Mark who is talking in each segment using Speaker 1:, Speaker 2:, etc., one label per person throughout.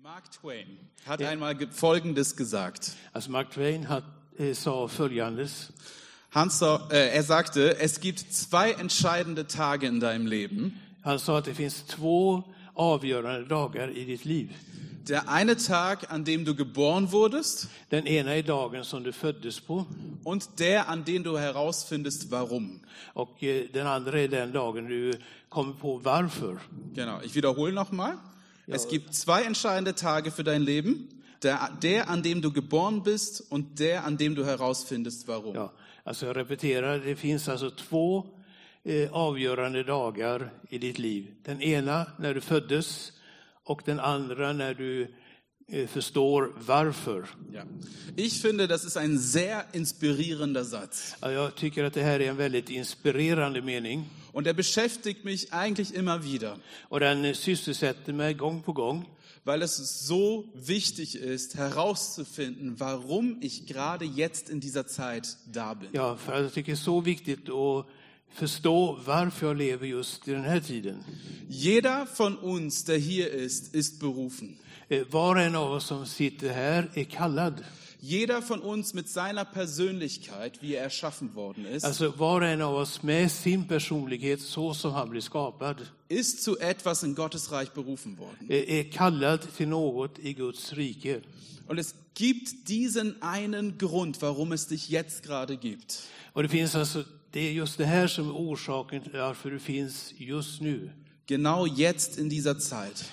Speaker 1: Mark Twain hat einmal ge- Folgendes gesagt.
Speaker 2: Als Alltså, Mark Twain hat, eh, sa följandes.
Speaker 1: Hans, Sau- äh, er sagte, es gibt zwei entscheidende Tage in deinem Leben.
Speaker 2: Han sa att det finns två avgörande dagar i ditt liv.
Speaker 1: Der eine Tag, an dem du geboren wurdest
Speaker 2: Den ena är dagen som du föddes på
Speaker 1: und der, an dem du herausfindest, warum.
Speaker 2: och eh, den andra är den dagen du kommer på varför.
Speaker 1: Genau, ich wiederhole nochmal. Es gibt zwei entscheidende Tage für dein Leben. Der, der, an dem du geboren bist und der, an dem du herausfindest, warum.
Speaker 2: Ja, alltså jag repeterar, det finns alltså två eh, avgörande dagar i ditt liv. Den ena när du föddes och den andra när du eh, förstår varför.
Speaker 1: Ja. Ich finde, das ist ein sehr inspirierender Satz.
Speaker 2: Ja, jag tycker att det här är en väldigt inspirerande mening
Speaker 1: Und er beschäftigt mich eigentlich immer wieder,
Speaker 2: och den eh, sysselsätter mig gång på gång.
Speaker 1: weil es so wichtig ist, herauszufinden, warum ich gerade jetzt in dieser Zeit da bin.
Speaker 2: Ja, för jag tycker det är så viktigt att förstå varför jag lever just i den här tiden.
Speaker 1: Jeder von uns, der hier ist, ist berufen.
Speaker 2: Eh, Var och en av oss som sitter här är kallad.
Speaker 1: Jeder von uns mit seiner Persönlichkeit, wie er erschaffen worden ist,
Speaker 2: Alltså var och en av oss med sin personlighet så som han blir skapad
Speaker 1: ist zu etwas in Gottes Reich berufen worden.
Speaker 2: eh, är kallad till något i Guds rike.
Speaker 1: Und es gibt diesen einen Grund, warum es dich jetzt gerade gibt.
Speaker 2: Och det finns alltså, det är just det här som är orsaken till varför du finns just nu.
Speaker 1: Genau jetzt in dieser Zeit.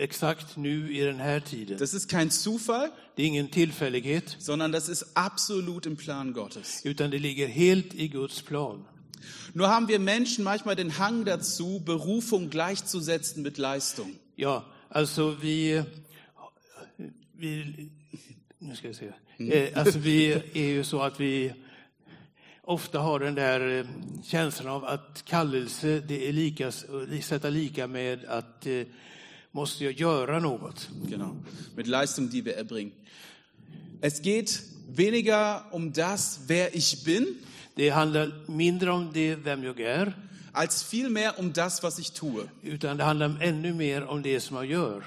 Speaker 2: Exakt nu i den här tiden.
Speaker 1: Das ist kein Zufall,
Speaker 2: Det är ingen tillfällighet,
Speaker 1: sondern das ist absolut im Plan Gottes.
Speaker 2: utan det ligger helt i Guds plan.
Speaker 1: Nur haben wir Menschen manchmal den Hang dazu, Berufung gleichzusetzen mit Leistung.
Speaker 2: Ja, alltså vi... vi nu ska jag se. Eh, Alltså vi är ju så att vi ofta har den där eh, känslan av att kallelse, det är lika, sätta lika med att eh, måste jag göra något.
Speaker 1: Genau. Mit Leistung, die wir erbringen. Es geht weniger um das, wer ich bin,
Speaker 2: Det handlar mindre om det, vem jag är,
Speaker 1: als vielmehr um das, was ich tue.
Speaker 2: utan det handlar ännu mer om det som jag gör.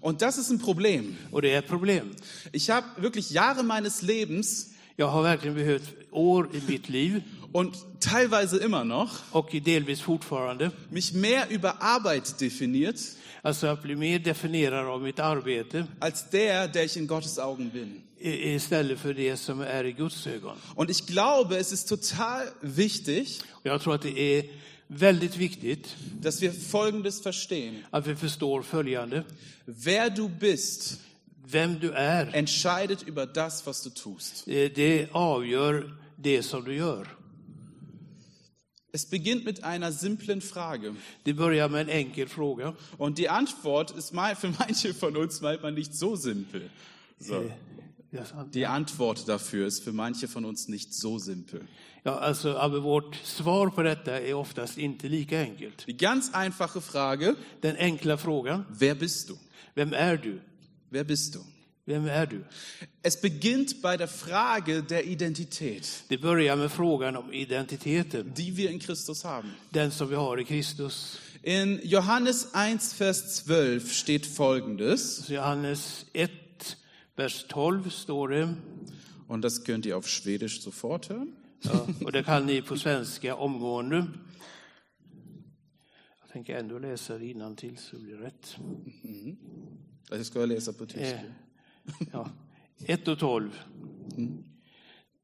Speaker 1: Und das ist ein Problem.
Speaker 2: Och det är ett problem.
Speaker 1: Ich habe wirklich Jahre meines Lebens
Speaker 2: Jag har verkligen behövt år i mitt liv
Speaker 1: und teilweise immer noch
Speaker 2: och delvis fortfarande
Speaker 1: mich mehr über Arbeit definiert,
Speaker 2: Alltså att bli mer definierad av mitt arbete
Speaker 1: als der, der ich in Gottes Augen bin.
Speaker 2: i- istället för det som är i Guds ögon.
Speaker 1: Und ich glaube, es ist total wichtig,
Speaker 2: Och jag tror att det är väldigt viktigt
Speaker 1: dass wir Folgendes verstehen.
Speaker 2: att vi förstår följande.
Speaker 1: Wer du bist,
Speaker 2: Vem du är, eh,
Speaker 1: entscheidet über das, was du tust.
Speaker 2: det avgör det som du gör.
Speaker 1: Es beginnt mit einer simplen Frage.
Speaker 2: Det börjar med en enkel fråga.
Speaker 1: Und die Antwort ist mal für manche von uns manchmal nicht so simpel. So.
Speaker 2: Ja, sant.
Speaker 1: Die Antwort dafür ist für manche von uns nicht so simpel.
Speaker 2: Ja, alltså, ja, men vårt svar på detta är oftast inte lika enkelt.
Speaker 1: Die ganz einfache Frage,
Speaker 2: Den enkla frågan,
Speaker 1: wer bist du?
Speaker 2: vem är du?
Speaker 1: Wer bist du?
Speaker 2: Vem är du?
Speaker 1: Es beginnt bei der Frage der Identität,
Speaker 2: Det börjar med frågan om identiteten,
Speaker 1: die wir in Christus haben.
Speaker 2: den som vi har i Kristus.
Speaker 1: In Johannes 1, Vers 12 steht Folgendes,
Speaker 2: Så Johannes 1, vers 12 står det.
Speaker 1: und das könnt ihr auf Schwedisch sofort hören.
Speaker 2: Ja, och det kan ni på svenska omgående. Jag tänker ändå läsa det innantill så blir det rätt.
Speaker 1: Jag ska läsa på
Speaker 2: Eh,
Speaker 1: tyska.
Speaker 2: ja, 1 och 12.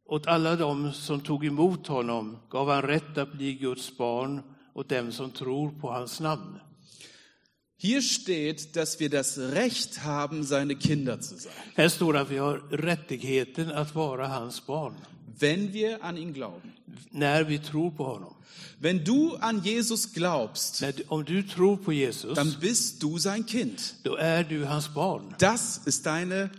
Speaker 2: Åt alla dem som tog emot honom gav han rätt att bli Guds barn åt dem som tror på hans namn.
Speaker 1: Hier steht, dass wir das Recht haben, seine Kinder zu sein,
Speaker 2: Här står det att vi har rättigheten att vara hans barn
Speaker 1: wenn wir an ihn glauben.
Speaker 2: när vi tror på honom.
Speaker 1: Wenn du an Jesus glaubst,
Speaker 2: När, du- om du tror på Jesus,
Speaker 1: dann bist du sein Kind.
Speaker 2: då är du hans barn.
Speaker 1: Das ist deine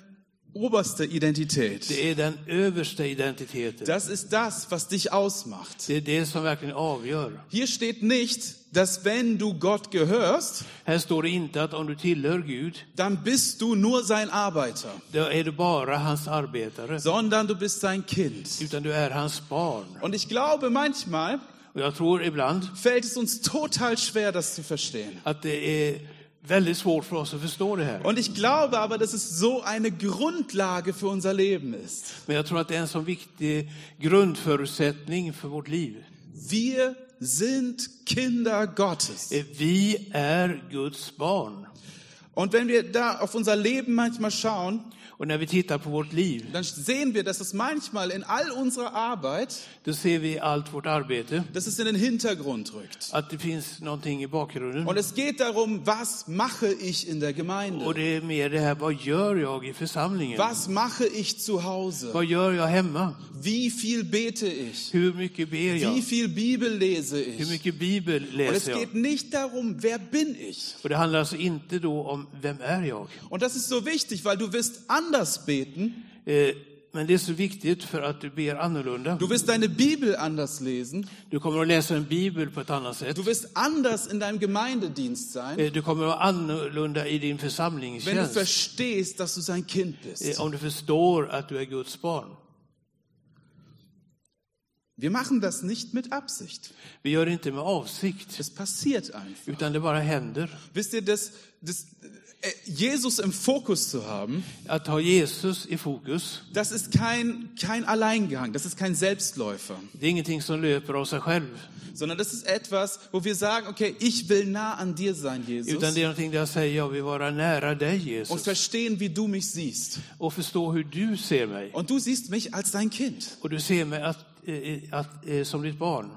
Speaker 1: oberste Identität.
Speaker 2: Det är den översta identiteten.
Speaker 1: Das ist das, was dich ausmacht.
Speaker 2: Det är det som verkligen avgör.
Speaker 1: Hier steht nicht, dass wenn du Gott gehörst,
Speaker 2: Här står det inte att om du tillhör Gud,
Speaker 1: dann bist du nur sein Arbeiter,
Speaker 2: då är du bara hans arbetare,
Speaker 1: sondern du bist sein Kind.
Speaker 2: utan du är hans barn.
Speaker 1: Und ich glaube, manchmal
Speaker 2: Och jag tror ibland
Speaker 1: fällt es uns total schwer, das zu verstehen.
Speaker 2: att det är väldigt svårt för oss att förstå det här.
Speaker 1: Und ich glaube aber, dass es so eine Grundlage für unser Leben ist.
Speaker 2: Men jag tror att det är en så viktig grundförutsättning för vårt liv.
Speaker 1: Wir sind Kinder Gottes.
Speaker 2: Eh, Vi är Guds barn.
Speaker 1: Und wenn wir da auf unser Leben manchmal schauen,
Speaker 2: Och när vi tittar på vårt liv,
Speaker 1: dann sehen wir, dass es manchmal in all unserer Arbeit,
Speaker 2: då ser vi allt vårt arbete,
Speaker 1: dass es in den Hintergrund rückt.
Speaker 2: att det finns någonting i bakgrunden.
Speaker 1: Und es geht darum, was mache ich in der
Speaker 2: Och
Speaker 1: Gemeinde?
Speaker 2: det är mer det här, vad gör jag i församlingen?
Speaker 1: Was mache ich zu Hause?
Speaker 2: Vad gör jag hemma?
Speaker 1: Wie viel bete ich?
Speaker 2: Hur mycket ber
Speaker 1: Wie
Speaker 2: jag?
Speaker 1: viel Bibel lese
Speaker 2: Hur
Speaker 1: ich?
Speaker 2: mycket bibel
Speaker 1: Und es
Speaker 2: läser jag?
Speaker 1: geht nicht darum, wer bin ich?
Speaker 2: Och det handlar alltså inte då om, vem är jag?
Speaker 1: Und das ist so wichtig, weil du wirst anders beten,
Speaker 2: Eh, Men det är så viktigt för att du ber annorlunda.
Speaker 1: du wirst deine Bibel anders lesen,
Speaker 2: Du kommer att läsa en bibel på ett annat sätt.
Speaker 1: du wirst anders in deinem Gemeindedienst sein,
Speaker 2: Eh, Du kommer att vara annorlunda i din
Speaker 1: wenn du
Speaker 2: församlingstjänst.
Speaker 1: verstehst, dass du sein Kind bist.
Speaker 2: eh, Om du förstår att du är Guds barn.
Speaker 1: Wir machen das nicht mit Absicht.
Speaker 2: Vi gör det inte med avsikt,
Speaker 1: Es passiert einfach.
Speaker 2: utan det bara händer.
Speaker 1: Wisst ihr, das, das, äh, Jesus im Fokus zu haben,
Speaker 2: Att ha Jesus i fokus,
Speaker 1: das ist kein, kein Alleingang, das ist kein Selbstläufer,
Speaker 2: det är ingenting som löper av sig själv.
Speaker 1: sondern das ist etwas, wo wir sagen, okay, ich will nah an dir sein,
Speaker 2: Utan det
Speaker 1: Jesus,
Speaker 2: är någonting där jag säger, jag vill vara nära dig
Speaker 1: und
Speaker 2: Jesus
Speaker 1: verstehen, wie du mich siehst.
Speaker 2: och förstå hur du ser mig.
Speaker 1: Und du siehst mich als dein Kind.
Speaker 2: Och du ser mig att, eh, att, eh, som ditt barn.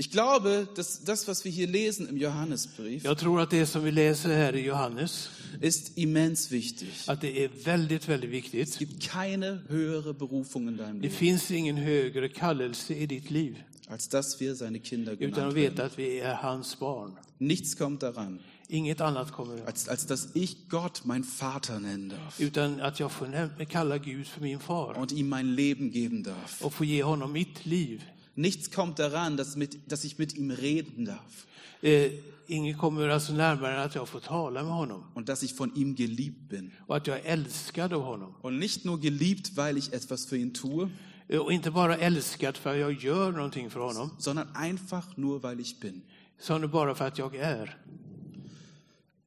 Speaker 1: Ich glaube, dass das, was wir hier lesen im Johannesbrief,
Speaker 2: Jag tror att det som vi läser här i Johannes,
Speaker 1: ist immens wichtig.
Speaker 2: att det är väldigt, väldigt
Speaker 1: Es
Speaker 2: viktigt.
Speaker 1: gibt keine höhere Berufung in deinem
Speaker 2: Det
Speaker 1: Leben,
Speaker 2: finns ingen högre kallelse i ditt liv
Speaker 1: als dass wir seine Kinder
Speaker 2: utan att
Speaker 1: genannt werden.
Speaker 2: veta att vi är hans barn.
Speaker 1: Nichts kommt daran,
Speaker 2: Inget annat kommer
Speaker 1: als, als dass ich Gott mein Vater nennen darf
Speaker 2: utan att jag får näm- kalla Gud för min far
Speaker 1: und ihm mein Leben geben darf.
Speaker 2: och få ge honom mitt liv.
Speaker 1: Nichts kommt daran, dass, mit, dass ich mit ihm reden darf
Speaker 2: Eh, ingen kommer alltså närmare än att jag får tala med honom
Speaker 1: und dass ich von ihm geliebt bin.
Speaker 2: och att jag är älskad av honom.
Speaker 1: Und nicht nur geliebt, weil ich etwas för ihn tue,
Speaker 2: Eh, Och inte bara älskad för att jag gör någonting för honom,
Speaker 1: sondern einfach nur, weil ich bin.
Speaker 2: utan bara för att jag är.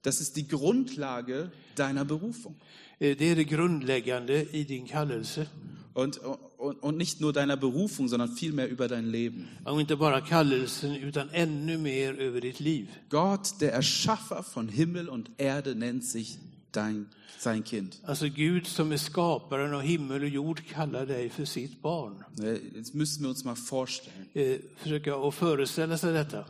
Speaker 1: Das ist die Grundlage deiner Berufung.
Speaker 2: Eh, Det är det grundläggande i din kallelse.
Speaker 1: Und, und, och nicht nur deiner Berufung, sondern vielmehr über dein Leben.
Speaker 2: Och inte bara kallelsen, utan ännu mer över ditt liv.
Speaker 1: Gott, der Erschaffer von Himmel und Erde, nennt sich dein, sein Kind.
Speaker 2: Alltså Gud som är skaparen av himmel och jord kallar dig för sitt barn.
Speaker 1: Äh, Jetzt müssen wir uns mal vorstellen.
Speaker 2: Eh, Försöka att föreställa sig detta.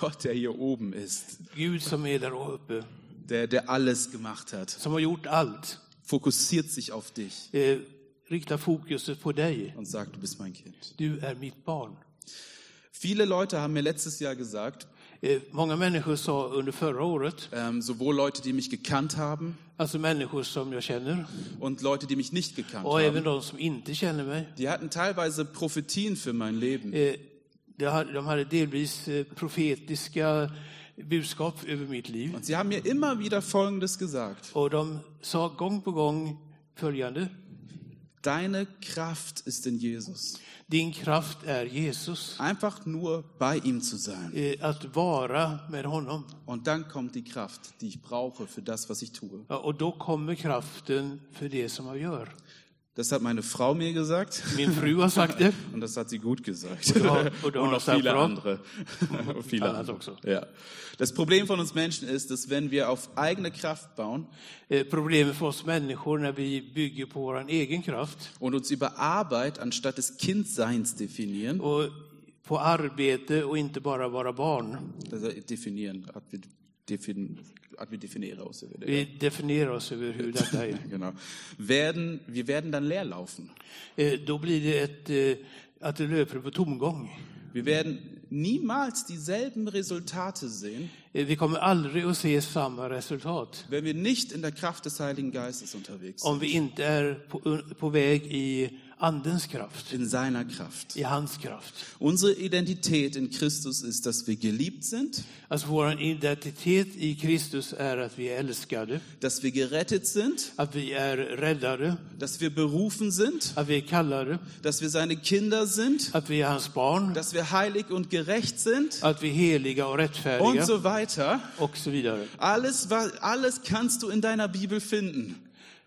Speaker 1: Gott, der hier oben ist,
Speaker 2: Gud som är där uppe,
Speaker 1: der, der alles gemacht hat,
Speaker 2: som har gjort allt,
Speaker 1: fokussiert sich auf dich
Speaker 2: eh, riktar fokuset på dig.
Speaker 1: und sagt, du bist mein Kind.
Speaker 2: Du är mitt barn.
Speaker 1: Viele Leute haben mir letztes Jahr gesagt,
Speaker 2: Eh, Många människor sa under förra året,
Speaker 1: ähm, sowohl Leute, die mich gekannt haben
Speaker 2: alltså människor som jag känner,
Speaker 1: und Leute, die mich nicht gekannt
Speaker 2: Och även
Speaker 1: haben,
Speaker 2: de som inte känner mig.
Speaker 1: die hatten teilweise Prophetien für mein Leben.
Speaker 2: Eh, det ha- De hade delvis eh, profetiska budskap över mitt liv.
Speaker 1: Und sie haben mir immer wieder Folgendes gesagt.
Speaker 2: Och de sa gång på gång följande.
Speaker 1: Deine Kraft ist in Jesus.
Speaker 2: Din kraft är Jesus.
Speaker 1: Einfach nur bei ihm zu sein.
Speaker 2: Eh, Att vara med honom.
Speaker 1: Und dann kommt die Kraft, die ich brauche för das, was ich tue.
Speaker 2: Ja, Och då kommer kraften för det som jag gör.
Speaker 1: Das hat meine Frau mir gesagt.
Speaker 2: Min fru har sagt det.
Speaker 1: Und das hat sie gut gesagt.
Speaker 2: du hast- und
Speaker 1: Und
Speaker 2: du hast
Speaker 1: noch
Speaker 2: gesagt,
Speaker 1: viele
Speaker 2: Frau?
Speaker 1: andere. Und viele
Speaker 2: Alles
Speaker 1: andere.
Speaker 2: auch so.
Speaker 1: Ja. also Das Problem von uns Menschen ist, dass wenn wir auf eigene Kraft bauen
Speaker 2: Eh, Problemet för oss människor när vi bygger på vår egen kraft
Speaker 1: und uns über Arbeit anstatt des Kindseins definieren,
Speaker 2: och på arbete och inte bara vara barn.
Speaker 1: also definieren, hat wir defin, hat wir definiere aus, ja.
Speaker 2: Vi definierar oss över hur detta är.
Speaker 1: genau, werden, wir werden dann leer laufen.
Speaker 2: Eh, då blir det ett, eh, att det löper på tomgång.
Speaker 1: Wir werden niemals dieselben Resultate sehen,
Speaker 2: Eh, Vi kommer aldrig att se samma resultat
Speaker 1: wenn wir nicht in der Kraft des Heiligen Geistes unterwegs sind.
Speaker 2: om vi inte är på, på väg i andens kraft,
Speaker 1: in seiner Kraft.
Speaker 2: i hans kraft.
Speaker 1: Unsere Identität in Christus ist, dass wir geliebt sind,
Speaker 2: Alltså vår identitet i Kristus är att vi är älskade,
Speaker 1: dass wir gerettet sind,
Speaker 2: att vi är räddade,
Speaker 1: dass wir berufen sind,
Speaker 2: att vi är kallade,
Speaker 1: dass wir seine Kinder sind,
Speaker 2: att vi är hans barn,
Speaker 1: dass wir heilig und gerecht sind
Speaker 2: att vi är heliga och
Speaker 1: und
Speaker 2: rättfärdiga
Speaker 1: so weiter.
Speaker 2: och så vidare.
Speaker 1: Alles, wa- alles kannst du in deiner Bibel finden.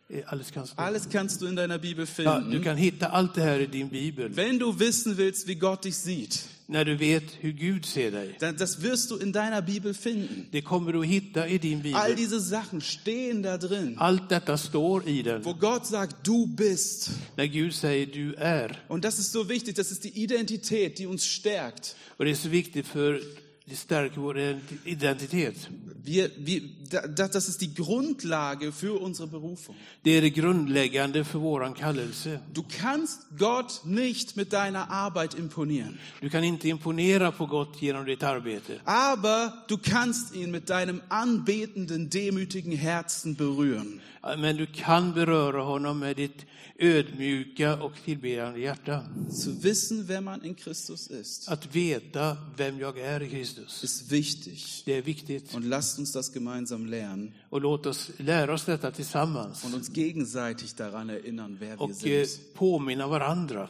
Speaker 2: Eh, Alles kan stå.
Speaker 1: Alles kannst du in deiner Bibel
Speaker 2: ja,
Speaker 1: finden.
Speaker 2: du kan hitta allt det här i din bibel.
Speaker 1: Wenn du wissen willst, wie Gott dich sieht,
Speaker 2: När du vet hur Gud ser dig.
Speaker 1: dann das wirst du in deiner Bibel finden.
Speaker 2: Det kommer du att hitta i din
Speaker 1: All
Speaker 2: bibel. Ah.
Speaker 1: diese Sachen stehen da drin,
Speaker 2: Allt detta står i den.
Speaker 1: wo Gott sagt, du bist.
Speaker 2: När Gud säger du är.
Speaker 1: Und das ist so wichtig, das ist die Identität, die uns stärkt.
Speaker 2: Och det är så viktigt för det stärker vår identitet.
Speaker 1: Wir, wir, da- da- das ist die Grundlage för unsere Berufung.
Speaker 2: Det är det grundläggande för våran kallelse.
Speaker 1: Du kannst Gott nicht mit deiner Arbeit imponieren,
Speaker 2: Du kan inte imponera på Gott genom ditt arbete.
Speaker 1: aber du kannst ihn mit deinem anbetenden, demütigen Herzen berühren.
Speaker 2: Men du kan beröra honom med ditt ödmjuka och tillbedjande hjärta.
Speaker 1: Zu wissen, wer man in Christus ist,
Speaker 2: Att veta vem jag är i Kristus,
Speaker 1: ist wichtig.
Speaker 2: det är viktigt.
Speaker 1: Und lasst uns das gemeinsam lernen
Speaker 2: Och låt oss lära oss detta tillsammans
Speaker 1: und uns gegenseitig daran erinnern, wer wir
Speaker 2: och eh,
Speaker 1: sind,
Speaker 2: påminna varandra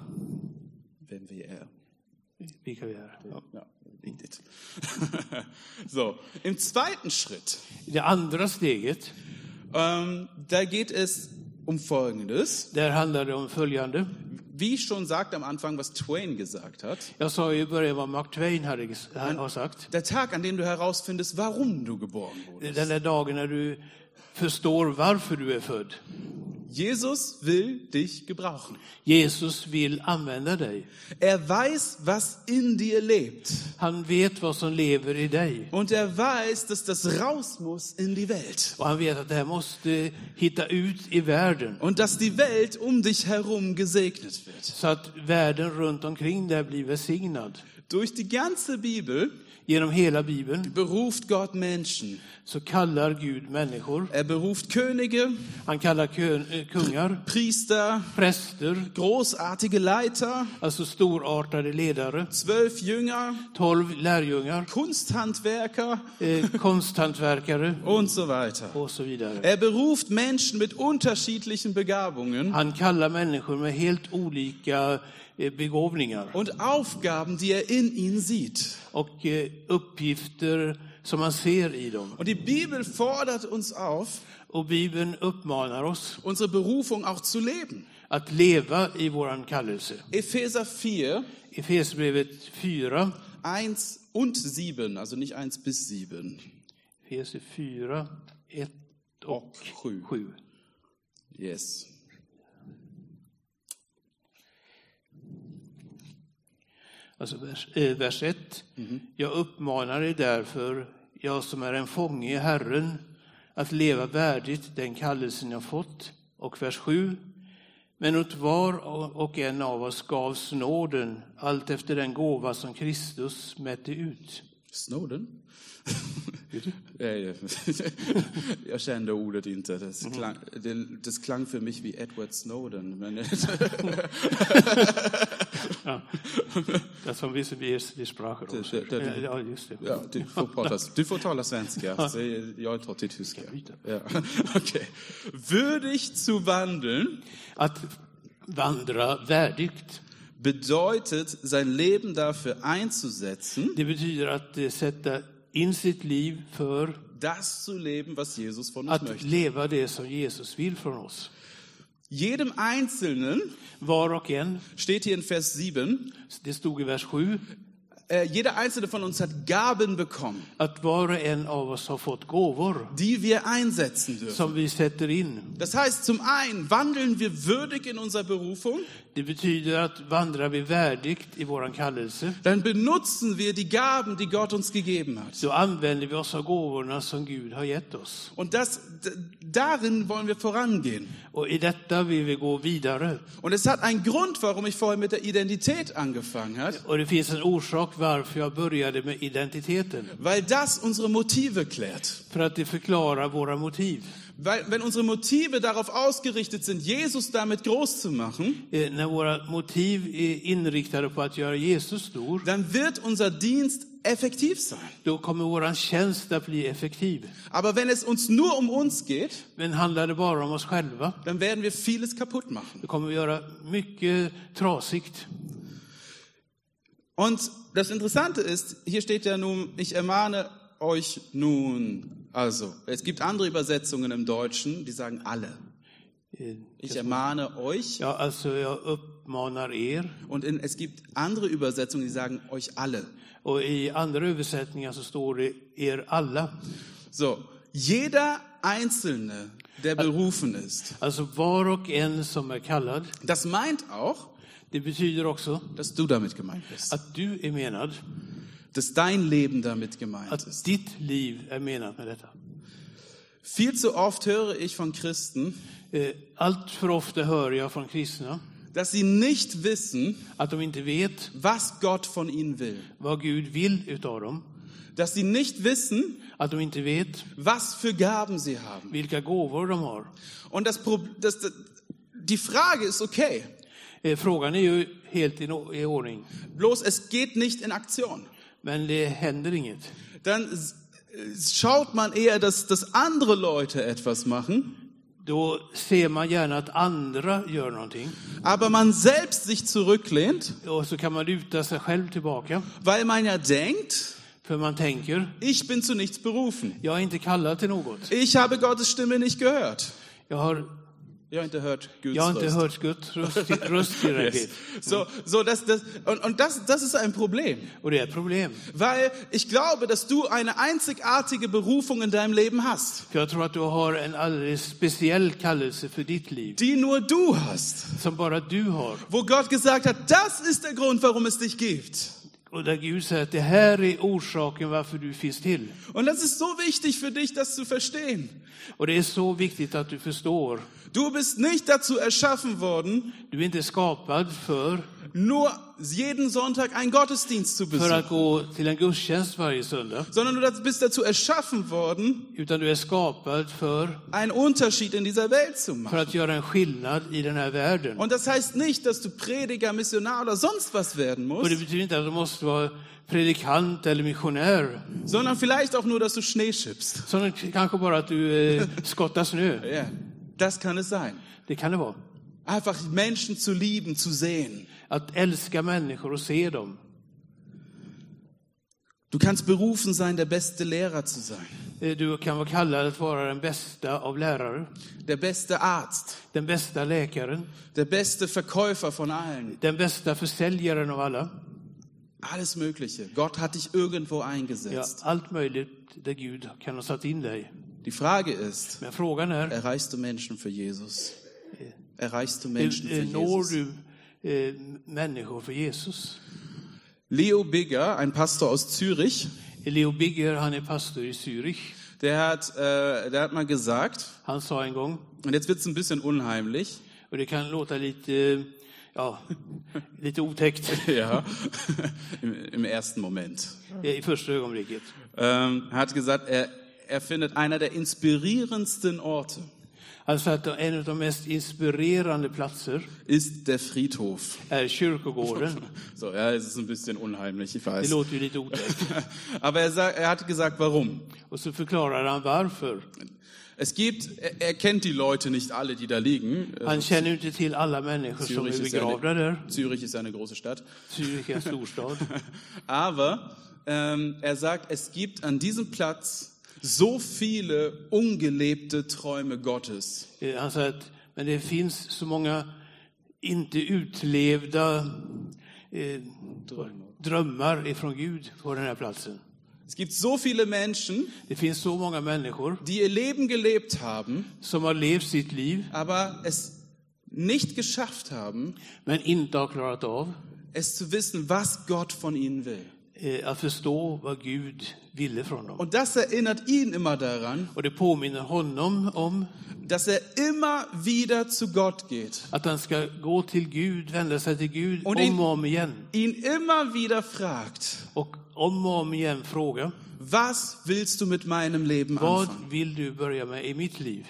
Speaker 1: wenn wir er.
Speaker 2: vilka vi är. Ja.
Speaker 1: Ja, indeed. so, im zweiten Schritt,
Speaker 2: Det andra steget,
Speaker 1: ähm, da geht es um Folgendes.
Speaker 2: där handlar det om följande.
Speaker 1: Wie schon sagt am Anfang, was Twain gesagt hat,
Speaker 2: Jag sa ju i början vad Mark Twain hade har sagt.
Speaker 1: der Tag, an dem du herausfindest, warum du geboren wurdest.
Speaker 2: Den där dagen när du förstår varför du är född.
Speaker 1: Jesus will dich gebrauchen.
Speaker 2: Jesus vill använda dig.
Speaker 1: Er weiß, was in dir lebt.
Speaker 2: Han vet vad som lever i dig.
Speaker 1: Und er weiß, dass das raus muss in die Welt.
Speaker 2: Och han vet att det här måste hitta ut i världen.
Speaker 1: Und dass die Welt um dich herum gesegnet wird.
Speaker 2: Så att världen runt omkring där blir välsignad.
Speaker 1: Durch die ganze Bibel
Speaker 2: Genom hela Bibeln
Speaker 1: beruft Gott Menschen.
Speaker 2: så kallar Gud människor.
Speaker 1: Er beruft Könige,
Speaker 2: Han kallar kön- eh, kungar,
Speaker 1: Priester,
Speaker 2: präster,
Speaker 1: großartige Leiter,
Speaker 2: alltså storartade ledare,
Speaker 1: zwölf Jünger,
Speaker 2: tolv lärjungar,
Speaker 1: Kunsthandwerker
Speaker 2: eh, konsthantverkare
Speaker 1: und so weiter.
Speaker 2: och så vidare.
Speaker 1: Er beruft Menschen mit unterschiedlichen Begabungen
Speaker 2: Han kallar människor med helt olika eh, begåvningar
Speaker 1: und Aufgaben, die er in ihnen sieht.
Speaker 2: och eh, uppgifter som man ser i dem.
Speaker 1: Und die Bibel fordert uns auf,
Speaker 2: Och Bibeln uppmanar oss
Speaker 1: unsere Berufung auch zu leben.
Speaker 2: att leva i våran kallelse.
Speaker 1: Epheser 4,
Speaker 2: Efesierbrevet 4,
Speaker 1: 1 und 7, also nicht 1 bis 7.
Speaker 2: Efesier 4, 1 och
Speaker 1: Sju.
Speaker 2: 7.
Speaker 1: Yes.
Speaker 2: Alltså vers, eh, vers 1.
Speaker 1: Mhm.
Speaker 2: Jag uppmanar er därför, jag som är en fånge i Herren, att leva värdigt den kallelsen jag fått. Och vers 7. Men åt var och en av oss gavs nåden, allt efter den gåva som Kristus mätte ut.
Speaker 1: Snowden? Nej, jag kände ordet inte. Det klang, det, det klang för mig vid Edward Snowden. Men
Speaker 2: Det som vi blir vi spraker om.
Speaker 1: det- det- det-
Speaker 2: Ja, just det.
Speaker 1: ja, du, får prata, du får tala svenska. Så jag tar till tyska. Ja. Okay. Würdig zu wandeln
Speaker 2: Att vandra värdigt.
Speaker 1: bedeutet, sein Leben dafür einzusetzen,
Speaker 2: Det betyder att eh, sätta in sitt liv för
Speaker 1: das zu leben, was Jesus von uns
Speaker 2: att
Speaker 1: möchte.
Speaker 2: leva det som Jesus vill från oss.
Speaker 1: Jedem Einzelnen,
Speaker 2: Var och en,
Speaker 1: steht hier in Vers 7,
Speaker 2: det stod i vers 7,
Speaker 1: äh, jeder Einzelne von uns hat Gaben bekommen,
Speaker 2: att var och en av oss har fått gåvor
Speaker 1: die wir einsetzen dürfen.
Speaker 2: som vi sätter in.
Speaker 1: Das heißt, zum einen wandeln wir würdig in unserer Berufung,
Speaker 2: Det betyder att vandrar vi värdigt i våran kallelse,
Speaker 1: dann benutzen wir die Gaben, die Gott uns gegeben hat.
Speaker 2: så använder vi oss av gåvorna som Gud har gett oss.
Speaker 1: Und das, d- darin wollen wir vorangehen.
Speaker 2: Och i detta vill vi gå vidare.
Speaker 1: Und es hat einen Grund, warum ich vorher mit der Identität angefangen habe,
Speaker 2: Och det finns en orsak varför jag började med identiteten.
Speaker 1: weil das unsere Motive klärt.
Speaker 2: För att det förklarar våra motiv.
Speaker 1: Weil, wenn unsere Motive darauf ausgerichtet sind, Jesus damit groß zu machen,
Speaker 2: Eh, När våra motiv är inriktade på att göra Jesus stor,
Speaker 1: dann wird unser Dienst effektiv sein.
Speaker 2: då kommer vår tjänst att bli effektiv.
Speaker 1: Aber wenn es uns nur um uns geht,
Speaker 2: Men handlar det bara om oss själva,
Speaker 1: dann werden wir vieles kaputt machen.
Speaker 2: då kommer vi göra mycket trasigt.
Speaker 1: Und das Interessante ist, hier steht ja nun, ich ermahne euch nun. Also, es gibt andere Übersetzungen im Deutschen, die sagen alle.
Speaker 2: Eh,
Speaker 1: Ich ermahne euch.
Speaker 2: Ja, alltså jag uppmanar er.
Speaker 1: Und in, es gibt andere Übersetzungen, die sagen euch alle.
Speaker 2: Och i andra översättningar så står det er alla.
Speaker 1: So, jeder Einzelne, der berufen ist.
Speaker 2: Alltså var och en som är kallad.
Speaker 1: Das meint auch,
Speaker 2: Det betyder också
Speaker 1: dass du damit gemeint bist.
Speaker 2: att du är menad,
Speaker 1: Dass dein Leben damit gemeint ist.
Speaker 2: att ditt liv är menat med detta.
Speaker 1: Viel zu oft höre ich von Christen,
Speaker 2: Eh, Allt för ofta hör jag från kristna
Speaker 1: dass sie nicht wissen,
Speaker 2: att de inte vet
Speaker 1: was Gott von ihnen will.
Speaker 2: vad Gud vill utav dem.
Speaker 1: Dass sie nicht wissen,
Speaker 2: Att de inte vet
Speaker 1: was för Gaben sie haben.
Speaker 2: vilka gåvor de har.
Speaker 1: Und das, Prob- das, das, die Frage ist okay,
Speaker 2: Eh, Frågan är ju helt i no- i ordning,
Speaker 1: bloß es geht nicht in Aktion.
Speaker 2: men det händer inget.
Speaker 1: Dann s- äh, schaut man eher, dass, dass andere Leute etwas machen,
Speaker 2: Då ser man gärna att andra gör någonting
Speaker 1: aber man selbst sich zurücklehnt,
Speaker 2: och så kan man luta sig själv tillbaka.
Speaker 1: weil man ja denkt,
Speaker 2: För man tänker,
Speaker 1: ich bin zu nichts berufen.
Speaker 2: jag är inte kallad till något.
Speaker 1: Ich habe Gottes Stimme nicht gehört.
Speaker 2: Jag har,
Speaker 1: Ja, und der hört Guds
Speaker 2: jag har inte
Speaker 1: Röst.
Speaker 2: hört Guds röst, röst
Speaker 1: Yes.
Speaker 2: tillräckligt.
Speaker 1: So, so das, das, und, und das, das ist ein Problem,
Speaker 2: Och det är ett problem.
Speaker 1: weil ich glaube, dass du eine einzigartige Berufung in deinem Leben hast.
Speaker 2: För jag tror att du har en alldeles speciell kallelse för ditt liv,
Speaker 1: die nur du hast.
Speaker 2: som bara du har.
Speaker 1: Wo Gott gesagt hat, das ist der Grund, warum es dich gibt.
Speaker 2: Och där Gud säger att det här är orsaken varför du finns till.
Speaker 1: Und das ist so wichtig för dich, das zu verstehen.
Speaker 2: Och det är så viktigt att du förstår.
Speaker 1: Du bist nicht dazu erschaffen worden,
Speaker 2: Du är inte skapad för,
Speaker 1: nur jeden Sonntag einen Gottesdienst zu
Speaker 2: för
Speaker 1: besuchen,
Speaker 2: att gå till en gudstjänst varje söndag,
Speaker 1: sondern du bist dazu erschaffen worden,
Speaker 2: utan du är skapad för,
Speaker 1: einen Unterschied in dieser Welt zu
Speaker 2: för
Speaker 1: machen.
Speaker 2: att göra en skillnad i den här världen.
Speaker 1: Und das heißt nicht, dass du Prediger, Missionar oder sonst was werden
Speaker 2: Och det
Speaker 1: musst,
Speaker 2: betyder inte att du måste vara predikant eller missionär,
Speaker 1: sondern vielleicht auch nur, dass du Schnee schippst.
Speaker 2: utan kanske bara att du eh, skottar snö.
Speaker 1: Ja, das kann es sein.
Speaker 2: Det kan det vara.
Speaker 1: Einfach Menschen zu lieben, zu sehen.
Speaker 2: Att älska människor och se dem.
Speaker 1: Du kannst berufen sein, der beste Lehrer zu sein.
Speaker 2: Eh, Du kan vara kallad att vara den bästa av lärare,
Speaker 1: der beste Arzt,
Speaker 2: den bästa läkaren,
Speaker 1: der beste Verkäufer von allen,
Speaker 2: den bästa försäljaren av alla.
Speaker 1: alles Mögliche. Gott hat dich irgendwo
Speaker 2: Ja,
Speaker 1: eingesetzt.
Speaker 2: allt möjligt där Gud kan ha satt in dig.
Speaker 1: Die Frage ist,
Speaker 2: Men frågan är, eh,
Speaker 1: erreichst du Menschen för Jesus? Erreichst du Menschen für
Speaker 2: eh, når
Speaker 1: Jesus?
Speaker 2: du eh, människor för Jesus?
Speaker 1: Leo Bigger, ein Pastor aus Zürich,
Speaker 2: Leo Bigger, han är pastor i Zürich.
Speaker 1: der hat, äh, der hat mal gesagt,
Speaker 2: Han sa en gång,
Speaker 1: und jetzt wird's ein bisschen unheimlich,
Speaker 2: Och det kan låta lite, ja, lite otäckt
Speaker 1: ja, im, im ersten Moment,
Speaker 2: i första ögonblicket.
Speaker 1: ähm, hat gesagt, er, er findet einer der inspirierendsten Orte
Speaker 2: Alltså att en av de mest inspirerande platser
Speaker 1: ist der Friedhof.
Speaker 2: är kyrkogården.
Speaker 1: So, ja, es ist ein bisschen unheimlich, ich
Speaker 2: Det
Speaker 1: weiß.
Speaker 2: låter ju lite otäckt.
Speaker 1: Aber er, sa- er hat gesagt, warum?
Speaker 2: Och så förklarar han varför.
Speaker 1: Es gibt, er, er kennt die Leute nicht alle, die da liegen. Äh,
Speaker 2: Han känner ju inte till alla människor som är
Speaker 1: Zürich, ist ja
Speaker 2: begravda där.
Speaker 1: eine, Zürich ist ja eine große Stadt.
Speaker 2: Zürich är en storstad.
Speaker 1: Aber ähm, er sagt, es gibt an diesem Platz so viele ungelebte Träume Gottes.
Speaker 2: Eh, Han säger att, men det finns så många inte utlevda eh, drömmar ifrån Gud på den här platsen.
Speaker 1: Es gibt so viele Menschen,
Speaker 2: Det finns så många människor
Speaker 1: die ihr Leben gelebt haben,
Speaker 2: som har levt sitt liv
Speaker 1: aber es nicht geschafft haben,
Speaker 2: men inte har klarat av
Speaker 1: es zu wissen, was Gott von ihnen will.
Speaker 2: eh, att förstå vad Gud ville från dem.
Speaker 1: Und das erinnert ihn immer daran,
Speaker 2: Och det påminner honom om
Speaker 1: dass er immer wieder zu Gott geht,
Speaker 2: Att han ska gå till Gud, vända sig till Gud
Speaker 1: Och det-
Speaker 2: om och om igen.
Speaker 1: ihn immer wieder fragt,
Speaker 2: Och om och om igen fråga,
Speaker 1: was willst du mit meinem Leben anfangen?
Speaker 2: vad vill du börja med i mitt liv?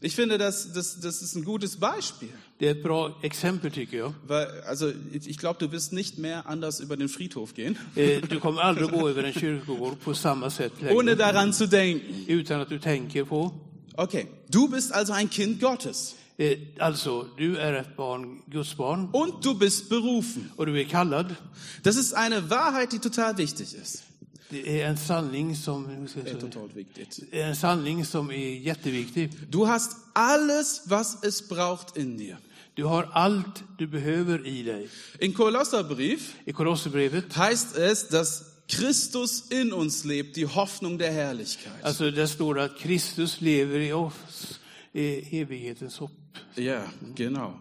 Speaker 1: Ich finde, das, das, das ist ein gutes Beispiel.
Speaker 2: Det är ett bra exempel tycker jag.
Speaker 1: Weil, also ich ich glaube, du wirst nicht mehr anders über den Friedhof gehen,
Speaker 2: Eh, Du kommer aldrig gå över en kyrkogård på samma sätt
Speaker 1: ohne
Speaker 2: längre,
Speaker 1: daran zu denken.
Speaker 2: utan att du tänker på.
Speaker 1: Okay, du bist also ein Kind Gottes
Speaker 2: eh, Alltså, du är ett barn, Guds barn,
Speaker 1: und du bist berufen.
Speaker 2: och du är kallad.
Speaker 1: Das ist eine Wahrheit, die total wichtig ist.
Speaker 2: Det är en sanning som,
Speaker 1: Äh, total wichtig.
Speaker 2: Det är en sanning som är jätteviktig.
Speaker 1: Du hast alles, was es braucht in dir.
Speaker 2: Du har allt du behöver i dig.
Speaker 1: In Kolosserbrief
Speaker 2: I Kolosserbrevet,
Speaker 1: heißt es, dass Christus in uns lebt, die Hoffnung der Herrlichkeit.
Speaker 2: alltså där står det att Kristus lever i oss, i evighetens hopp.
Speaker 1: Ja, genau.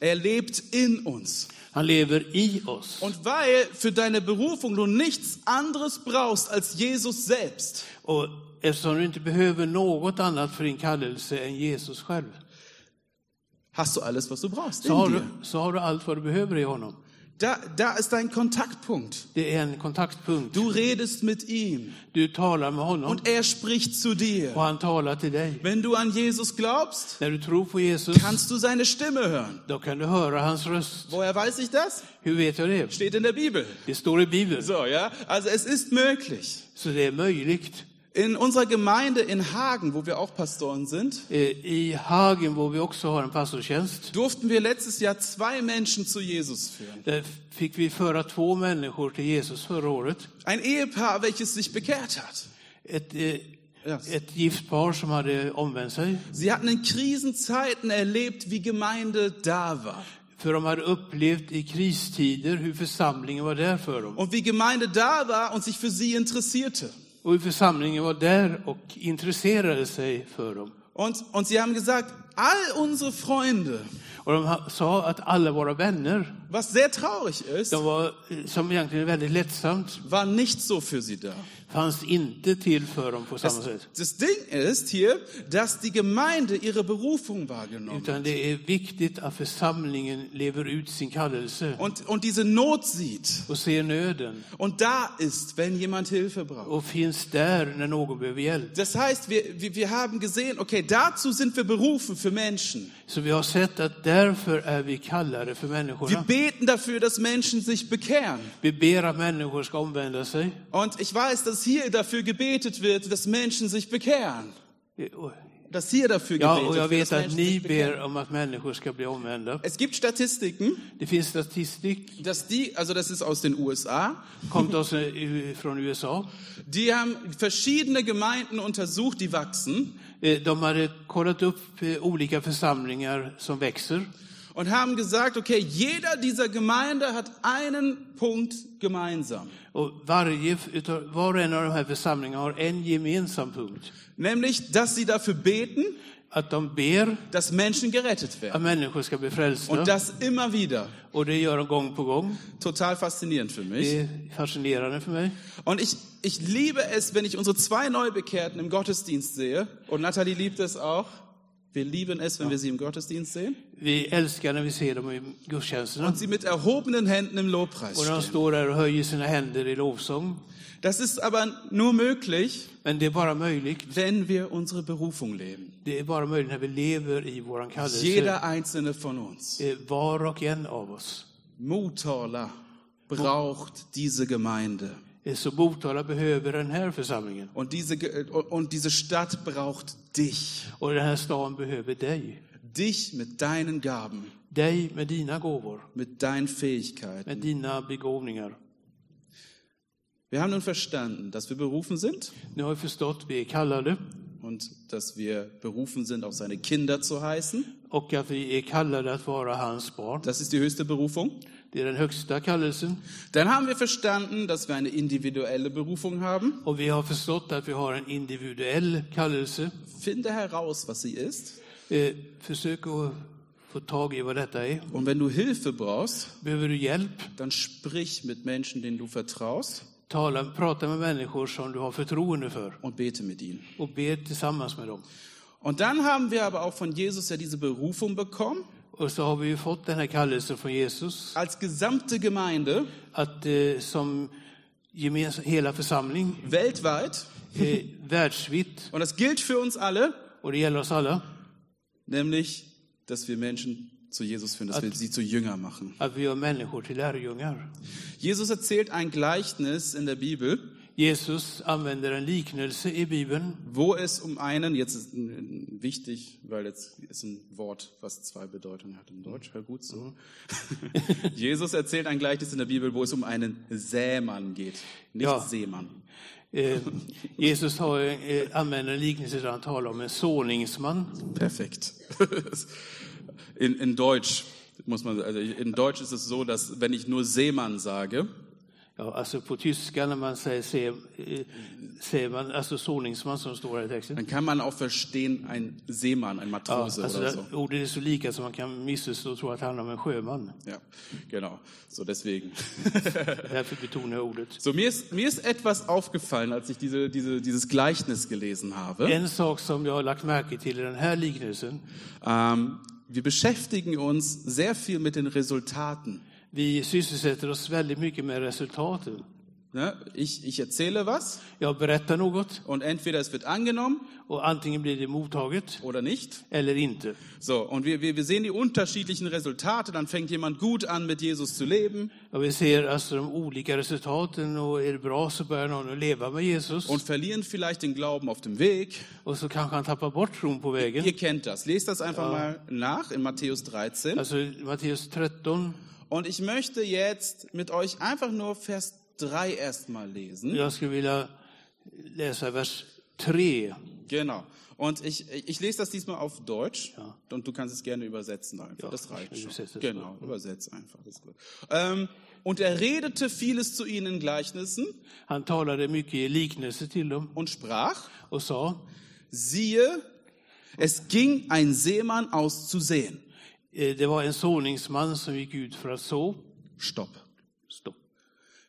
Speaker 1: Er lebt in uns.
Speaker 2: Han lever i oss.
Speaker 1: Und weil für deine Berufung du nichts anderes brauchst als Jesus selbst,
Speaker 2: Och eftersom du inte behöver något annat för din kallelse än Jesus själv,
Speaker 1: hast du alles, was du brauchst
Speaker 2: så har
Speaker 1: in
Speaker 2: du,
Speaker 1: dir.
Speaker 2: så har du allt vad du behöver i honom.
Speaker 1: Da, da ist dein Kontaktpunkt.
Speaker 2: Det är en kontaktpunkt.
Speaker 1: Du redest mit ihm
Speaker 2: Du talar med honom
Speaker 1: und er spricht zu dir.
Speaker 2: och han talar till dig.
Speaker 1: Wenn du an Jesus glaubst,
Speaker 2: När du tror på Jesus,
Speaker 1: kannst du seine Stimme hören.
Speaker 2: då kan du höra hans röst.
Speaker 1: Woher weiß ich das?
Speaker 2: Hur vet jag det?
Speaker 1: Steht in der Bibel.
Speaker 2: Det står i Bibeln,
Speaker 1: So, ja. Also es ist möglich.
Speaker 2: så det är möjligt.
Speaker 1: In unserer Gemeinde in Hagen, wo wir auch Pastoren sind,
Speaker 2: Eh, I Hagen, wo vi också har en pastortjänst,
Speaker 1: durften wir letztes Jahr zwei Menschen zu Jesus führen.
Speaker 2: där fick vi föra två människor till Jesus förra året.
Speaker 1: Ein Ehepaar, welches sich bekehrt hat.
Speaker 2: Ett, eh,
Speaker 1: Ja.
Speaker 2: ett gift par som hade omvänt sig.
Speaker 1: Sie hatten in Krisenzeiten erlebt, wie Gemeinde da war.
Speaker 2: För de hade upplevt i kristider hur församlingen var där för dem.
Speaker 1: Und wie Gemeinde da war und sich für sie interessierte.
Speaker 2: Och hur församlingen var där och intresserade sig för dem.
Speaker 1: Und, und sie haben gesagt, all unsere Freunde,
Speaker 2: Och de ha- sa att alla våra vänner,
Speaker 1: was sehr traurig ist,
Speaker 2: de var, eh, som egentligen är väldigt lättsamt,
Speaker 1: waren nicht so för sie da.
Speaker 2: fanns inte till för dem på samma sätt.
Speaker 1: Das Ding ist hier, dass die Gemeinde ihre Berufung wahrgenommen hat
Speaker 2: Utan det är viktigt att församlingen lever ut sin kallelse
Speaker 1: und, och diese Not sieht
Speaker 2: och ser nöden
Speaker 1: und da ist, wenn jemand Hilfe braucht.
Speaker 2: och finns där när någon behöver hjälp.
Speaker 1: Das heißt, wir, wir, wir haben gesehen, okay, dazu sind wir berufen för Menschen.
Speaker 2: Så vi har sett att därför är vi kallade för
Speaker 1: Wir
Speaker 2: människorna.
Speaker 1: beten dafür, dass Menschen sich bekehren.
Speaker 2: Vi ber att människor ska omvända sig.
Speaker 1: Und ich weiß, dass hier dafür gebetet wird, dass Menschen sich bekehren. Dass hier dafür
Speaker 2: Ja, och jag
Speaker 1: gebetet wird, dass Menschen
Speaker 2: vet att ni
Speaker 1: sich bekehren.
Speaker 2: ber om att människor ska bli omvända.
Speaker 1: Es gibt Statistiken,
Speaker 2: Det finns statistik,
Speaker 1: dass die, also das ist aus den USA,
Speaker 2: kom till oss eh, från USA.
Speaker 1: die haben verschiedene Gemeinden untersucht, die wachsen,
Speaker 2: Eh, De hade kollat upp eh, olika församlingar som växer
Speaker 1: und haben gesagt, okay, jeder dieser Gemeinde hat einen Punkt gemeinsam.
Speaker 2: Och varje, utav, var och en av de här församlingarna har en gemensam punkt.
Speaker 1: Nämlich, dass sie dafür beten,
Speaker 2: Att de ber
Speaker 1: dass Menschen gerettet
Speaker 2: att
Speaker 1: werden.
Speaker 2: människor ska bli
Speaker 1: Und
Speaker 2: frälsta.
Speaker 1: das immer wieder.
Speaker 2: Och det gör de gång på gång.
Speaker 1: Total faszinierend för mich.
Speaker 2: Det är fascinerande för mig.
Speaker 1: Und ich, ich liebe es, wenn ich unsere zwei Neubekehrten im Gottesdienst sehe. Und Nathalie liebt es auch. Wir lieben es, wenn wir sie im Gottesdienst sehen.
Speaker 2: Vi älskar när vi ser dem i gudstjänsterna.
Speaker 1: Und sie mit erhobenen Händen im Lobpreis
Speaker 2: Och de
Speaker 1: stehen.
Speaker 2: står där och höjer sina händer i lovsång.
Speaker 1: Das ist aber nur möglich,
Speaker 2: Men det är bara möjligt.
Speaker 1: wenn wir unsere Berufung leben.
Speaker 2: Det är bara möjligt när vi lever i våran kallelse.
Speaker 1: Jeder einzelne von uns.
Speaker 2: Eh, Var och en av oss.
Speaker 1: Mutala braucht diese Gemeinde.
Speaker 2: Eh, Så Motala behöver den här församlingen.
Speaker 1: Und diese, Ge- und diese Stadt braucht dich.
Speaker 2: Och den här stan behöver dig.
Speaker 1: Dich mit deinen Gaben,
Speaker 2: Dig med dina gåvor,
Speaker 1: mit deinen Fähigkeiten.
Speaker 2: med dina begåvningar.
Speaker 1: Wir haben nun verstanden, dass wir berufen sind
Speaker 2: Nu har vi förstått, vi är kallade
Speaker 1: und dass wir berufen sind, auch seine Kinder zu heißen.
Speaker 2: och att vi är kallade att vara hans barn.
Speaker 1: Das ist die höchste Berufung.
Speaker 2: Det är den högsta kallelsen.
Speaker 1: Dann haben wir verstanden, dass wir eine individuelle Berufung haben.
Speaker 2: Och vi har förstått att vi har en individuell kallelse.
Speaker 1: Finde heraus, was sie ist.
Speaker 2: Eh, försök att få tag i vad detta är.
Speaker 1: Und wenn du Hilfe brauchst,
Speaker 2: Behöver du hjälp?
Speaker 1: dann sprich mit Menschen, denen du vertraust
Speaker 2: Tala, prata med människor som du har förtroende för
Speaker 1: und bete mit ihnen.
Speaker 2: och be tillsammans med dem.
Speaker 1: Und dann haben wir aber auch von Jesus ja diese Berufung bekommen,
Speaker 2: Och så har vi ju fått den här kallelsen från Jesus
Speaker 1: als gesamte Gemeinde
Speaker 2: att eh, som gemens, hela församling,
Speaker 1: weltweit,
Speaker 2: eh, världsvitt,
Speaker 1: und das gilt för uns alle,
Speaker 2: och det gäller oss alla,
Speaker 1: nämlich, dass wir Menschen zu Jesus führen, dass wir sie zu Jünger machen.
Speaker 2: att vi gör människor till lärjungar.
Speaker 1: Jesus erzählt ein Gleichnis in der Bibel,
Speaker 2: Jesus använder en liknelse i Bibeln
Speaker 1: wo es um einen, jetzt ist äh, wichtig, weil jetzt ist ein Wort, was zwei Bedeutungen hat in Deutsch, hör gut
Speaker 2: Mhm.
Speaker 1: zu. Jesus erzählt ein Gleichnis in der Bibel, wo es um einen Sämann geht, nicht
Speaker 2: Ja.
Speaker 1: Seemann.
Speaker 2: Eh, Jesus har, eh, använder en liknelse där han talar om en såningsman.
Speaker 1: Perfekt. In, in Deutsch muss man, also in Deutsch ist es so, dass wenn ich nur Seemann sage,
Speaker 2: Ja, alltså på tyska när man säger, se, eh, säger man, alltså såningsman som står här i texten.
Speaker 1: dann kann man auch verstehen, ein Seemann, ein
Speaker 2: Ah,
Speaker 1: Matrose
Speaker 2: also Ja, alltså
Speaker 1: oder
Speaker 2: det,
Speaker 1: so.
Speaker 2: ordet är så lika så man kan missförstå och tro att det handlar om en sjöman.
Speaker 1: Ja, genau. So deswegen.
Speaker 2: Därför betonar jag ordet.
Speaker 1: So mir ist mir ist etwas aufgefallen, als ich diese, diese dieses Gleichnis gelesen habe.
Speaker 2: En sak som jag har lagt märke till i den här liknelsen.
Speaker 1: Ähm, wir beschäftigen uns sehr viel mit den Resultaten.
Speaker 2: Vi sysselsätter oss väldigt mycket med resultaten.
Speaker 1: Ne? Ich, ich erzähle was
Speaker 2: Jag berättar något
Speaker 1: und entweder es wird angenommen
Speaker 2: och antingen blir det mottaget
Speaker 1: oder nicht.
Speaker 2: eller inte.
Speaker 1: So, und wir, wir, wir sehen die unterschiedlichen Resultate. Dann fängt jemand gut an, mit Jesus zu leben
Speaker 2: Ja, vi ser alltså de olika resultaten och är det bra så börjar någon att leva med Jesus
Speaker 1: und verlieren vielleicht den Glauben auf dem Weg.
Speaker 2: och så kanske han tappar bort tron på vägen.
Speaker 1: Ihr kennt das. Lest das einfach mal nach in Matthäus 13.
Speaker 2: Alltså Matteus 13,
Speaker 1: Und ich möchte jetzt mit euch einfach nur Vers 3 erstmal lesen.
Speaker 2: jag skulle vilja läsa vers 3.
Speaker 1: Genau. Und ich, ich lese das diesmal auf Deutsch und du kannst es gerne übersetzen einfach.
Speaker 2: Ja,
Speaker 1: das reicht
Speaker 2: ich
Speaker 1: schon.
Speaker 2: übersetze es
Speaker 1: Genau, übersetz einfach. Ist gut. Ähm, und er redete vieles zu ihnen in Gleichnissen
Speaker 2: Han talade mycket i liknelse till dem
Speaker 1: und sprach,
Speaker 2: och sa,
Speaker 1: siehe, es ging ein Seemann aus zu sehen.
Speaker 2: eh, det var en såningsman som gick ut för att så.
Speaker 1: Stopp.
Speaker 2: Stopp.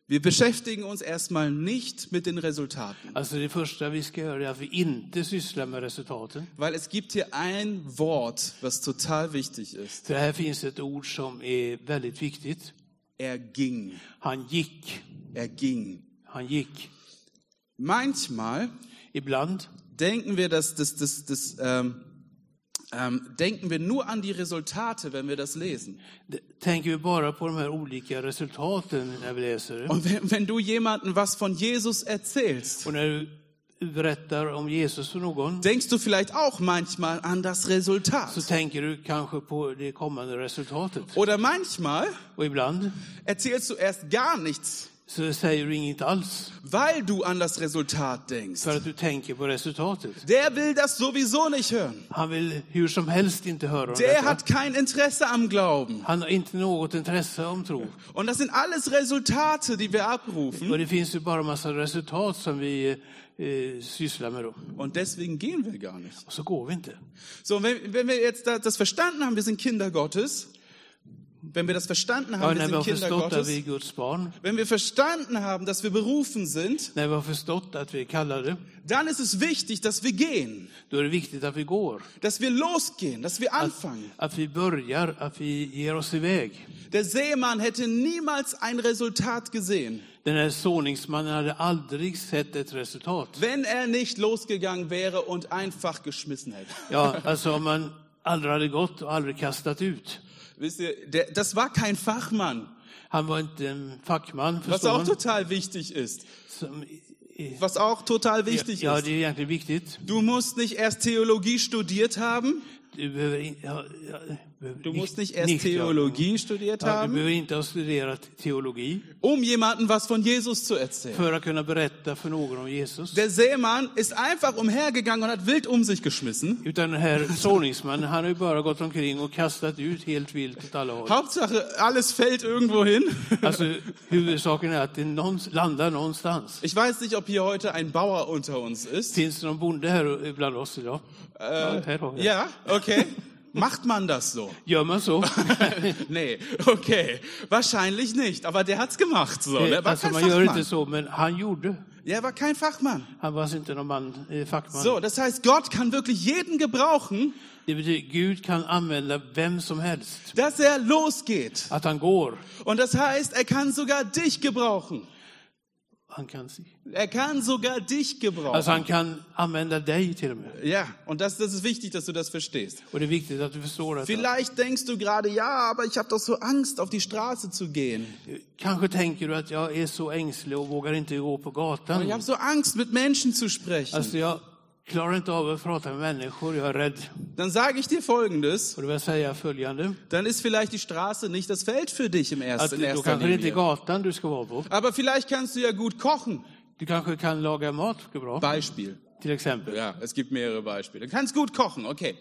Speaker 1: Wir beschäftigen uns erstmal nicht mit den Resultaten,
Speaker 2: Alltså det första vi ska göra är att vi inte sysslar med resultaten.
Speaker 1: weil es gibt hier ein Wort, was total wichtig ist.
Speaker 2: För här finns ett ord som är väldigt viktigt.
Speaker 1: Er ging.
Speaker 2: Han gick.
Speaker 1: Er ging.
Speaker 2: Han gick.
Speaker 1: Manchmal
Speaker 2: Ibland
Speaker 1: denken wir, dass das, das, das ähm, ähm, denken wir nur an die Resultate, wenn wir das lesen.
Speaker 2: Tänker vi bara på de här olika resultaten när vi läser det.
Speaker 1: Und wenn, wenn du jemandem was von Jesus erzählst,
Speaker 2: Och när du berättar om Jesus för någon
Speaker 1: denkst du vielleicht auch manchmal an das
Speaker 2: så
Speaker 1: Resultat.
Speaker 2: tänker du kanske på det kommande resultatet.
Speaker 1: Oder manchmal
Speaker 2: Och ibland
Speaker 1: erzählst du erst gar nichts,
Speaker 2: så säger du inget alls
Speaker 1: weil du an das Resultat denkst.
Speaker 2: för att du tänker på resultatet.
Speaker 1: Der will das sowieso nicht hören.
Speaker 2: Han vill hur som helst inte höra om
Speaker 1: Der
Speaker 2: detta.
Speaker 1: hat kein Interesse am Glauben.
Speaker 2: Han har inte något intresse om tro.
Speaker 1: Und das sind alles Resultate, die wir abrufen.
Speaker 2: Och det finns ju bara en massa resultat som vi eh, sysslar med då.
Speaker 1: Und deswegen gehen wir gar nicht.
Speaker 2: Och så går vi inte.
Speaker 1: So, wenn, wenn wir jetzt da- das verstanden haben, wir sind Kinder Gottes. Wenn wir das verstanden
Speaker 2: Ja,
Speaker 1: haben, wir
Speaker 2: när vi har
Speaker 1: sind Kinder
Speaker 2: förstått att vi är
Speaker 1: Gottes.
Speaker 2: Guds barn,
Speaker 1: Wenn wir verstanden haben, dass wir berufen sind,
Speaker 2: när vi har förstått att vi är kallade,
Speaker 1: dann ist es wichtig, dass wir gehen.
Speaker 2: då är det viktigt att vi går.
Speaker 1: Dass wir losgehen, dass wir
Speaker 2: Also
Speaker 1: anfangen.
Speaker 2: Att vi börjar, att vi ger oss iväg.
Speaker 1: Der Seemann hätte niemals ein Resultat gesehen,
Speaker 2: Den här såningsmannen hade aldrig sett ett resultat.
Speaker 1: wenn er nicht losgegangen wäre och einfach geschmissen hätte.
Speaker 2: Ja, alltså om man aldrig hade gått och aldrig kastat ut.
Speaker 1: Wisst ihr, der, das war kein Fachmann,
Speaker 2: Han var inte en fackman,
Speaker 1: was
Speaker 2: förstår
Speaker 1: auch
Speaker 2: man.
Speaker 1: total wichtig ist.
Speaker 2: Som, eh,
Speaker 1: Was auch total wichtig
Speaker 2: ja,
Speaker 1: ist.
Speaker 2: det är egentligen viktigt.
Speaker 1: Du musst nicht erst Theologie studiert haben,
Speaker 2: Du behöver, in, ja, ja, behöver
Speaker 1: du musst nicht
Speaker 2: nicht-
Speaker 1: erst Theologie studiert
Speaker 2: Ja, du
Speaker 1: haben,
Speaker 2: behöver inte ha studerat teologi
Speaker 1: um jemandem was von Jesus zu erzählen.
Speaker 2: för att kunna berätta för någon om Jesus.
Speaker 1: Der Seemann ist einfach umhergegangen och hat wild um sich geschmissen.
Speaker 2: Utan den här såningsmannen, han har ju bara gått omkring och kastat ut helt vilt åt alla håll.
Speaker 1: Hauptsache, alles fällt irgendwo hin.
Speaker 2: Alltså, huvudsaken är att det någons, landar någonstans.
Speaker 1: Ich weiß nicht, ob hier heute ein Bauer unter uns ist.
Speaker 2: Finns det någon bonde här bland oss idag? ja, här har vi.
Speaker 1: Ja, okay. Macht man das so?
Speaker 2: Gör man så?
Speaker 1: Nee, okay. Wahrscheinlich nicht, aber der hat's gemacht so. Der war
Speaker 2: alltså,
Speaker 1: kein
Speaker 2: man gör inte
Speaker 1: Fachmann.
Speaker 2: så, men han gjorde.
Speaker 1: Ja, er war kein Fachmann.
Speaker 2: Han var alltså inte någon man, eh, fackman.
Speaker 1: So, das heißt, Gott kann wirklich jeden gebrauchen,
Speaker 2: Det betyder Gud kan använda vem som helst.
Speaker 1: dass er losgeht.
Speaker 2: Att han går.
Speaker 1: Und das heißt, er kann sogar dich gebrauchen.
Speaker 2: Han kan, se.
Speaker 1: Er kann sogar dich
Speaker 2: alltså
Speaker 1: gebrauchen.
Speaker 2: han kan använda dig till och med.
Speaker 1: Ja, und das, das ist wichtig, dass du das verstehst.
Speaker 2: Och det är viktigt att du förstår detta.
Speaker 1: Vielleicht denkst du gerade, ja, aber ich habe doch so Angst, auf die Straße zu gehen.
Speaker 2: Kanske tänker du att jag är så ängslig och vågar inte gå på
Speaker 1: Ich
Speaker 2: gatan.
Speaker 1: habe so Angst, mit Menschen zu sprechen.
Speaker 2: Alltså jag klarar inte av att prata med människor, jag är rädd.
Speaker 1: Dann sage ich dir Folgendes,
Speaker 2: Och då vill jag säga följande.
Speaker 1: dann ist vielleicht die Straße nicht das Feld für dich im
Speaker 2: Att
Speaker 1: ersten, in
Speaker 2: då
Speaker 1: erster
Speaker 2: kanske det inte är
Speaker 1: Linie.
Speaker 2: gatan du ska vara på.
Speaker 1: Aber vielleicht kannst du ja gut kochen.
Speaker 2: Du kanske kan laga mat bra,
Speaker 1: Beispiel.
Speaker 2: till exempel.
Speaker 1: Ja, es gibt mehrere Beispiele. Du kannst gut kochen, okay.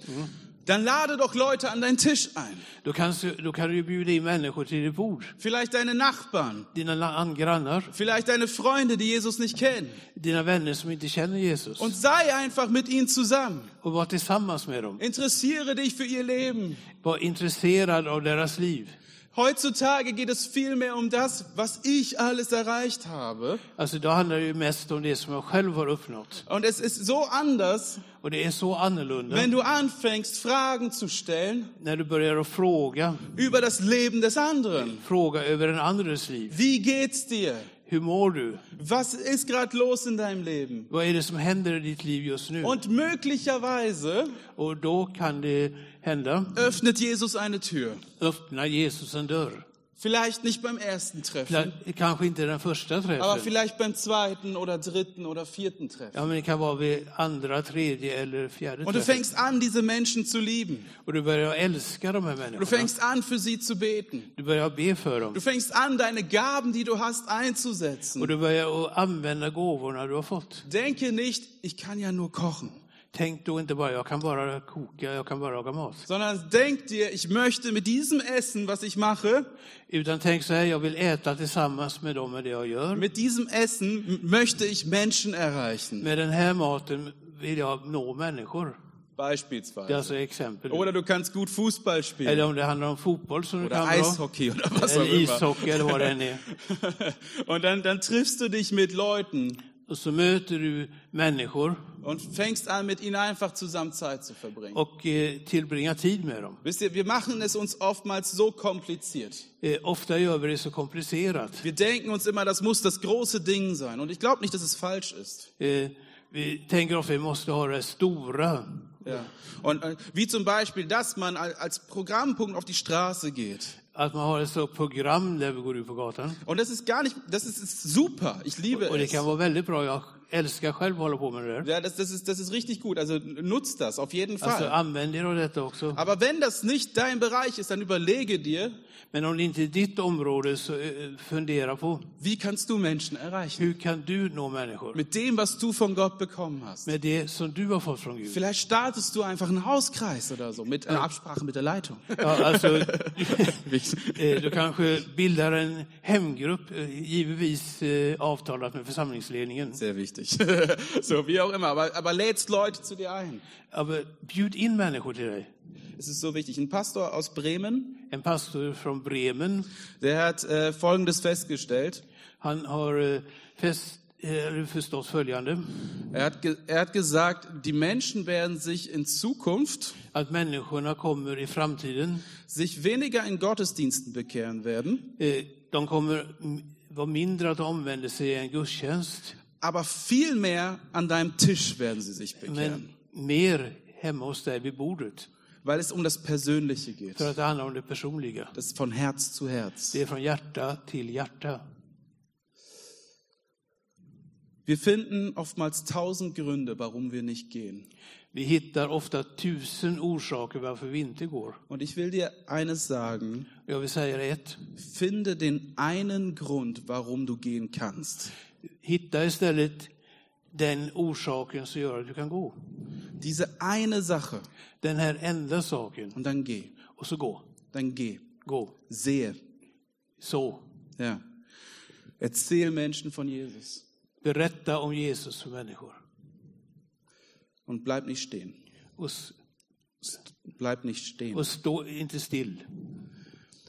Speaker 1: Dann lade doch Leute an deinen Tisch ein.
Speaker 2: Då kan, du- då kan du ju bjuda in människor till ditt bord.
Speaker 1: Vielleicht deine Nachbarn,
Speaker 2: Dina la- grannar,
Speaker 1: vielleicht deine Freunde, die Jesus nicht kennen.
Speaker 2: dina vänner som inte känner Jesus.
Speaker 1: Und sei einfach mit ihnen zusammen.
Speaker 2: Och var tillsammans med dem.
Speaker 1: Interessiere dich für ihr Leben.
Speaker 2: Var intresserad av deras liv.
Speaker 1: Heutzutage geht es viel mehr um das, was ich alles erreicht habe.
Speaker 2: Alltså då handlar det ju mest om det som jag själv har uppnått.
Speaker 1: Und es ist so anders,
Speaker 2: Och det är så annorlunda
Speaker 1: wenn du anfängst, Fragen zu stellen
Speaker 2: när du börjar att fråga.
Speaker 1: über das Leben des anderen.
Speaker 2: Fråga över den andres liv.
Speaker 1: Wie geht's dir?
Speaker 2: Hur mår du?
Speaker 1: Was ist gerade los in deinem Leben?
Speaker 2: Vad är det som händer i ditt liv just nu?
Speaker 1: Und möglicherweise
Speaker 2: Och då kan det hända,
Speaker 1: öffnet Jesus eine Tür.
Speaker 2: öppna Jesus en dörr.
Speaker 1: Vielleicht nicht beim ersten Treffen,
Speaker 2: Pla- Kanske inte den första
Speaker 1: aber
Speaker 2: träffen.
Speaker 1: vielleicht beim zweiten oder dritten oder vierten Treffen.
Speaker 2: Ja, men det kan vara vid andra, tredje eller fjärde
Speaker 1: Und du
Speaker 2: träffen.
Speaker 1: fängst an, diese Menschen zu lieben.
Speaker 2: Och du börjar älska de här
Speaker 1: Du
Speaker 2: människorna.
Speaker 1: fängst an, für sie zu beten.
Speaker 2: Du börjar be för dem.
Speaker 1: Du fängst an, deine Gaben, die du hast,
Speaker 2: Och
Speaker 1: einzusetzen.
Speaker 2: du börjar att använda gåvorna du har fått.
Speaker 1: Denke nicht, ich kann ja nur kochen,
Speaker 2: Tänk då inte bara, jag kan bara koka, jag kan bara laga mat.
Speaker 1: sondern denk dir, ich möchte mit diesem Essen, was ich mache,
Speaker 2: Utan tänk så här, jag vill äta tillsammans med dem med det jag gör.
Speaker 1: mit diesem Essen m- möchte ich Menschen erreichen.
Speaker 2: Med den här maten vill jag nå människor. Det är
Speaker 1: Beispielsweise.
Speaker 2: alltså exempel.
Speaker 1: Oder du kannst gut Fußball spielen.
Speaker 2: Eller om det handlar om fotboll som du
Speaker 1: Oder
Speaker 2: kan dra.
Speaker 1: Eishockey oder was auch
Speaker 2: Eller
Speaker 1: immer.
Speaker 2: ishockey eller vad det än är.
Speaker 1: Und dann, dann triffst du dich mit Leuten
Speaker 2: Och så möter du människor
Speaker 1: und fängst an, mit ihnen einfach zusammen Zeit zu verbringen.
Speaker 2: och eh, tillbringar tid med dem.
Speaker 1: Wisst ihr, wir machen es uns oftmals so kompliziert.
Speaker 2: Eh, Ofta gör vi det så komplicerat.
Speaker 1: Wir denken uns immer, das muss das große Ding sein. Und ich glaube nicht, dass es falsch ist.
Speaker 2: Eh, Vi tänker ofta att vi måste ha det stora.
Speaker 1: Ja. Und äh, wie zum Beispiel, dass man al- als Programmpunkt auf die Straße geht.
Speaker 2: Att man har ett stort program där vi går ut på gatan.
Speaker 1: Und das ist gar nicht, das ist, ist super. Ich liebe
Speaker 2: Och det
Speaker 1: es.
Speaker 2: kan vara väldigt bra. Jag älskar själv att hålla på med det där.
Speaker 1: Ja, das, das, ist, das ist richtig gut. Also nutzt das auf jeden
Speaker 2: Alltså
Speaker 1: Fall.
Speaker 2: använd er av detta också.
Speaker 1: Aber wenn das nicht dein Bereich ist, dann überlege dir,
Speaker 2: Men om det inte är ditt område så eh, fundera på
Speaker 1: wie kannst du Menschen erreichen?
Speaker 2: hur kan du nå människor?
Speaker 1: Mit dem, was du von Gott bekommen hast.
Speaker 2: Med det som du har fått från Gud.
Speaker 1: Vielleicht startest du einfach einen Hauskreis oder so mit einer Absprache mit der Leitung.
Speaker 2: Ja, alltså,
Speaker 1: Wichtig.
Speaker 2: eh, du kanske bildar en hemgrupp, eh, givetvis eh, avtalat med församlingsledningen.
Speaker 1: Sehr wichtig. so, wie auch immer. Aber, aber lädst Leute zu dir ein.
Speaker 2: Ja, men Bjud in människor till dig.
Speaker 1: Es ist so wichtig. Ein Pastor aus Bremen,
Speaker 2: En pastor från Bremen,
Speaker 1: der hat äh, Folgendes festgestellt.
Speaker 2: han har eh, fest, eh, förstått följande.
Speaker 1: Er hat, ge er hat gesagt, die Menschen werden sich in Zukunft
Speaker 2: Att människorna kommer i framtiden
Speaker 1: sich weniger in Gottesdiensten bekehren werden,
Speaker 2: Eh, De kommer m- vara mindre att omvända sig i en gudstjänst,
Speaker 1: aber viel mehr an deinem Tisch werden sie sich bekehren.
Speaker 2: men mer hemma hos dig vid bordet.
Speaker 1: Weil es um das Persönliche geht.
Speaker 2: För att det handlar om det personliga.
Speaker 1: Das ist von Herz zu Herz.
Speaker 2: Det är från hjärta till hjärta.
Speaker 1: Wir finden oftmals tausend Gründe, warum wir nicht gehen.
Speaker 2: Vi hittar ofta tusen orsaker varför vi inte går.
Speaker 1: Und ich will dir eines sagen.
Speaker 2: Jag vill säga det ett.
Speaker 1: Finde den einen Grund, warum du gehen kannst.
Speaker 2: Hitta istället den orsaken som gör att du kan gå.
Speaker 1: Diese eine Sache.
Speaker 2: Den här enda saken.
Speaker 1: Und dann geh.
Speaker 2: Och så gå.
Speaker 1: Dann geh.
Speaker 2: Gå.
Speaker 1: Sehe.
Speaker 2: Så.
Speaker 1: Ja. Erzähl Menschen von Jesus.
Speaker 2: Berätta om Jesus för människor.
Speaker 1: Und bleib nicht stehen.
Speaker 2: Och, s-
Speaker 1: Bleib nicht stehen.
Speaker 2: och stå inte still.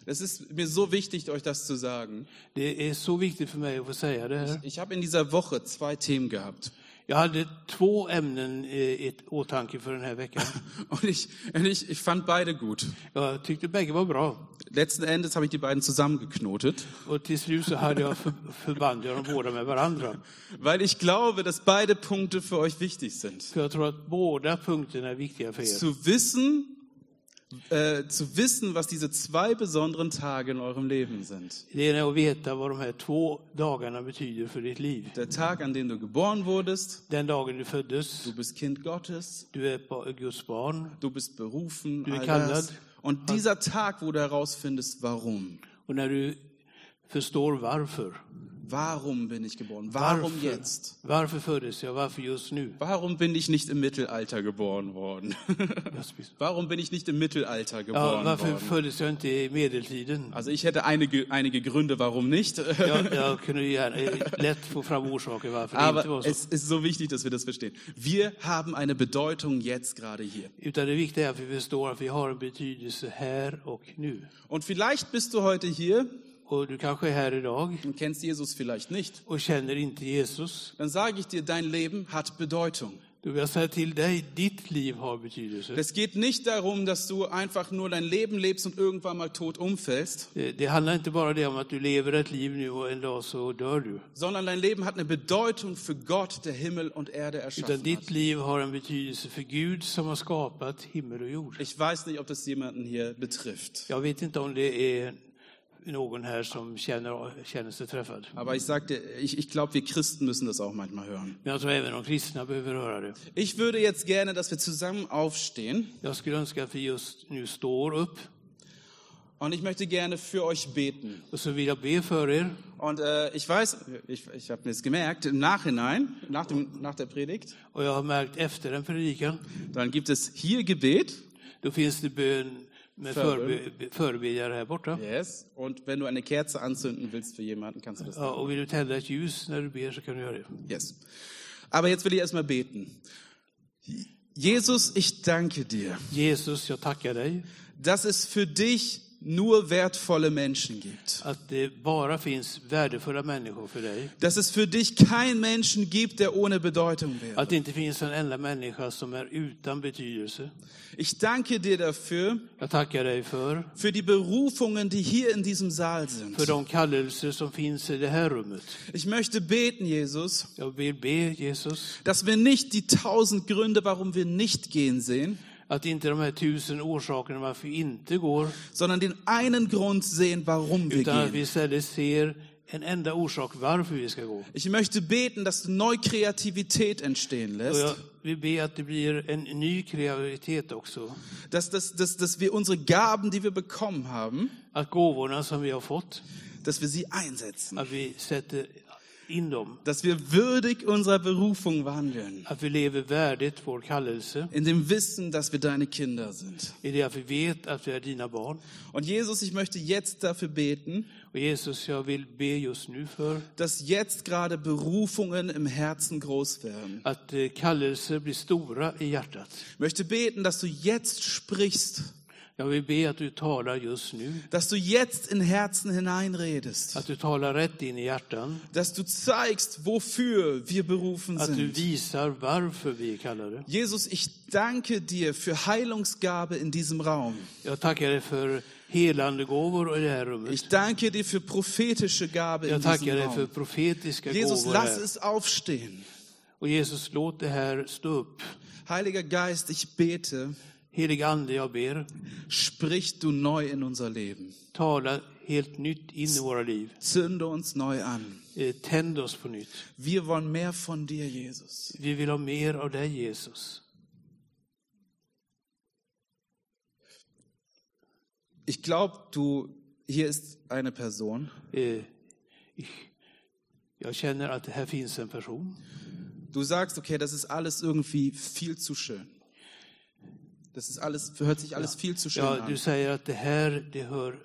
Speaker 1: Das ist mir so wichtig, euch das zu sagen.
Speaker 2: Det är så viktigt för mig att få säga det här.
Speaker 1: Ich habe in dieser Woche zwei Themen gehabt.
Speaker 2: Jag hade två ämnen i i åtanke för den här veckan.
Speaker 1: Und ich, und ich, ich fand beide gut.
Speaker 2: Jag tyckte bägge var bra.
Speaker 1: Letzten Endes habe ich die beiden zusammengeknotet,
Speaker 2: Och till slut så hade jag för, förband jag dem båda med varandra.
Speaker 1: weil ich glaube, dass beide Punkte för euch wichtig sind.
Speaker 2: För jag tror att båda punkterna är viktiga för er.
Speaker 1: Zu wissen, äh, zu wissen, was diese zwei besonderen Tage in eurem Leben sind.
Speaker 2: Det är att veta vad de här två dagarna betyder för ditt liv.
Speaker 1: Der Tag, an dem du geboren wurdest,
Speaker 2: Den dagen du föddes,
Speaker 1: du bist Kind Gottes,
Speaker 2: du är ba- Guds barn.
Speaker 1: du bist berufen,
Speaker 2: Du
Speaker 1: all
Speaker 2: kann
Speaker 1: das.
Speaker 2: das.
Speaker 1: Und dieser Tag, wo du herausfindest, warum.
Speaker 2: Och när du förstår varför.
Speaker 1: Warum bin ich geboren? Warum
Speaker 2: Varför?
Speaker 1: jetzt?
Speaker 2: Varför föddes jag? Varför just nu?
Speaker 1: Warum bin ich nicht im Mittelalter geboren worden? Warum bin ich nicht im Mittelalter
Speaker 2: Ja,
Speaker 1: geboren
Speaker 2: varför
Speaker 1: worden?
Speaker 2: föddes jag inte i medeltiden?
Speaker 1: Also ich hätte einige, einige Gründe, warum nicht.
Speaker 2: Jag, jag kunde ju gärna, eh, lätt få fram orsaker varför det inte var
Speaker 1: Aber
Speaker 2: så.
Speaker 1: es ist so wichtig, dass wir das verstehen. Wir haben eine Bedeutung jetzt gerade hier.
Speaker 2: Utan det viktiga är att vi förstår att vi har en betydelse här och nu.
Speaker 1: Und vielleicht bist du heute hier
Speaker 2: Och du kanske är här idag
Speaker 1: und kennst Jesus vielleicht nicht.
Speaker 2: och känner inte Jesus.
Speaker 1: Dann sage ich dir, dein Leben hat Bedeutung.
Speaker 2: Då vill jag säga till dig, ditt liv har betydelse.
Speaker 1: Es geht nicht darum, dass du einfach nur dein Leben lebst und irgendwann mal tot umfällst,
Speaker 2: Eh, Det handlar inte bara det om att du lever ett liv nu och en dag så dör du.
Speaker 1: sondern dein Leben hat eine Bedeutung för Gott, der Himmel und Erde
Speaker 2: Utan
Speaker 1: erschaffen
Speaker 2: ditt
Speaker 1: hat.
Speaker 2: liv har en betydelse för Gud som har skapat himmel och jord.
Speaker 1: Ich weiß nicht, ob das jemanden hier betrifft.
Speaker 2: Jag vet inte om det är någon här som känner, känner sig träffad.
Speaker 1: Aber ich sagte, ich, ich glaube, wir Christen müssen das auch manchmal hören.
Speaker 2: Men jag tror även de kristna behöver höra det.
Speaker 1: Ich würde jetzt gerne, dass wir zusammen aufstehen
Speaker 2: Jag skulle önska att vi just nu står upp
Speaker 1: und ich möchte gerne för euch beten.
Speaker 2: och så vill jag be för er.
Speaker 1: Und äh, ich weiß, ich, ich habe mir das gemerkt, im Nachhinein, nach, dem, nach der Predigt,
Speaker 2: Och jag har märkt efter den predikan,
Speaker 1: dann gibt es hier Gebet.
Speaker 2: då finns det bön med
Speaker 1: Förbön.
Speaker 2: förbe- förebedjare här borta.
Speaker 1: Yes. Und wenn du eine Kerze anzünden willst für jemanden, kannst du das.
Speaker 2: Ja, och vill du tända ett ljus när du ber så kan du göra det.
Speaker 1: Yes. Aber jetzt will ich erstmal beten. Jesus, ich danke dir,
Speaker 2: Jesus, jag tackar dig
Speaker 1: dass es für dich nur wertvolle Menschen gibt.
Speaker 2: att det bara finns värdefulla människor för dig.
Speaker 1: Dass es für dich keinen Menschen gibt, der ohne Bedeutung wäre.
Speaker 2: Att det inte finns en enda människa som är utan betydelse.
Speaker 1: Ich danke dir dafür,
Speaker 2: Jag tackar dig för,
Speaker 1: für die Berufungen, die hier in diesem Saal sind.
Speaker 2: för de kallelser som finns i det här rummet.
Speaker 1: Ich möchte beten, Jesus,
Speaker 2: Jag vill be Jesus
Speaker 1: dass wir nicht die tausend Gründe, warum wir nicht gehen sehen,
Speaker 2: att inte de här tusen orsakerna varför vi inte går,
Speaker 1: sondern den einen Grund sehen, warum wir
Speaker 2: utan att vi
Speaker 1: gehen.
Speaker 2: istället ser en enda orsak varför vi ska gå.
Speaker 1: Ich möchte beten, dass du neu Kreativität entstehen
Speaker 2: Och jag
Speaker 1: lässt,
Speaker 2: vill be att det blir en ny kreativitet också.
Speaker 1: dass, dass, dass, dass wir unsere Gaben, die wir bekommen haben,
Speaker 2: Att gåvorna som vi har fått,
Speaker 1: dass wir sie einsetzen,
Speaker 2: att vi sätter in dem.
Speaker 1: dass wir würdig unserer Berufung wandeln,
Speaker 2: Att vi lever värdigt vår kallelse,
Speaker 1: in dem Wissen, dass wir deine Kinder sind.
Speaker 2: i det att vi vet att vi är dina barn.
Speaker 1: Und Jesus, ich möchte jetzt dafür beten,
Speaker 2: Och Jesus, jag vill be just nu för
Speaker 1: dass jetzt gerade Berufungen im Herzen groß werden.
Speaker 2: att eh, kallelser blir stora i hjärtat.
Speaker 1: Ich möchte beten, dass du jetzt sprichst,
Speaker 2: Jag vill be att du talar just nu,
Speaker 1: dass du jetzt in Herzen hineinredest,
Speaker 2: att du talar rätt in i hjärtan,
Speaker 1: dass du zeigst, wofür wir berufen
Speaker 2: att du
Speaker 1: sind.
Speaker 2: visar varför vi är kallade.
Speaker 1: Jesus, ich danke dir för Heilungsgabe in diesem Raum.
Speaker 2: Jag tackar dig för helande gåvor i det här rummet.
Speaker 1: Ich danke dir für prophetische Gabe in
Speaker 2: Jag tackar
Speaker 1: diesem
Speaker 2: dig för
Speaker 1: Raum.
Speaker 2: profetiska
Speaker 1: Jesus,
Speaker 2: gåvor
Speaker 1: lass
Speaker 2: här.
Speaker 1: es aufstehen.
Speaker 2: Och Jesus, låt det här stå upp.
Speaker 1: Heiliger Geist, ich bete,
Speaker 2: Helig Ande, jag ber,
Speaker 1: sprich du neu in unser Leben.
Speaker 2: tala helt nytt in i våra liv.
Speaker 1: Zünde uns neu an.
Speaker 2: Eh, Tänd oss på nytt.
Speaker 1: Wir wollen mehr von dir, Jesus.
Speaker 2: Vi vill ha mer av dig, Jesus.
Speaker 1: Ich glaube, du, hier ist eine Person,
Speaker 2: Eh, ich- Jag känner att det här finns en person.
Speaker 1: Du sagst, okay, das ist alles irgendwie viel zu schön. Das ist alles, hört sich alles viel zu schön
Speaker 2: Ja, du
Speaker 1: an.
Speaker 2: säger att det här det hör,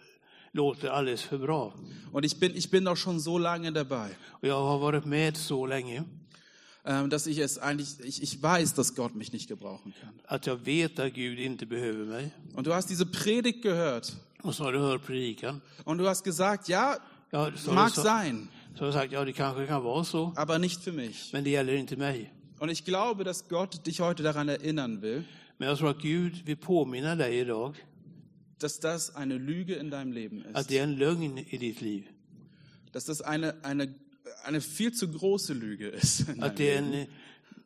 Speaker 2: låter alldeles für bra.
Speaker 1: Und ich bin, ich bin doch schon so lange dabei,
Speaker 2: Och jag har varit med så länge
Speaker 1: ähm, dass ich es eigentlich, ich, ich weiß, dass Gott mich nicht gebrauchen kann.
Speaker 2: att jag vet att Gud inte behöver mig.
Speaker 1: Und du hast diese Predigt gehört
Speaker 2: Och så har du hört predikan.
Speaker 1: Und du hast gesagt, ja,
Speaker 2: Ja, så, har
Speaker 1: mag
Speaker 2: du sa,
Speaker 1: sein,
Speaker 2: så har jag sagt, ja det kanske kan vara så,
Speaker 1: aber nicht für mich.
Speaker 2: men det gäller inte mig.
Speaker 1: Und ich glaube, dass Gott dich heute daran erinnern will,
Speaker 2: Men jag tror att Gud vill påminna dig idag
Speaker 1: dass das eine Lüge in deinem Leben
Speaker 2: att
Speaker 1: ist.
Speaker 2: det är en lögn i ditt liv.
Speaker 1: Dass das eine, eine, eine viel zu große Lüge ist. in deinem
Speaker 2: Att det är en,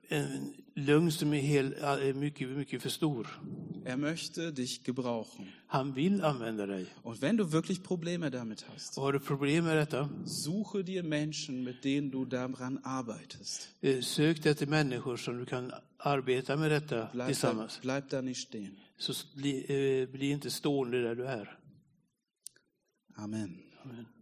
Speaker 2: en lögn som är hel, är mycket, mycket för stor.
Speaker 1: Leben. Er möchte dich gebrauchen.
Speaker 2: Han vill använda dig.
Speaker 1: Und wenn du wirklich Probleme damit hast,
Speaker 2: Och har du problem med detta,
Speaker 1: suche dir Menschen, mit denen du daran arbeitest.
Speaker 2: eh, sök dig till människor som du kan arbeta med detta
Speaker 1: Bleib da,
Speaker 2: tillsammans.
Speaker 1: bleib da nicht stehen.
Speaker 2: Så bli, eh, bli inte stående där du är.
Speaker 1: Amen.
Speaker 2: Amen.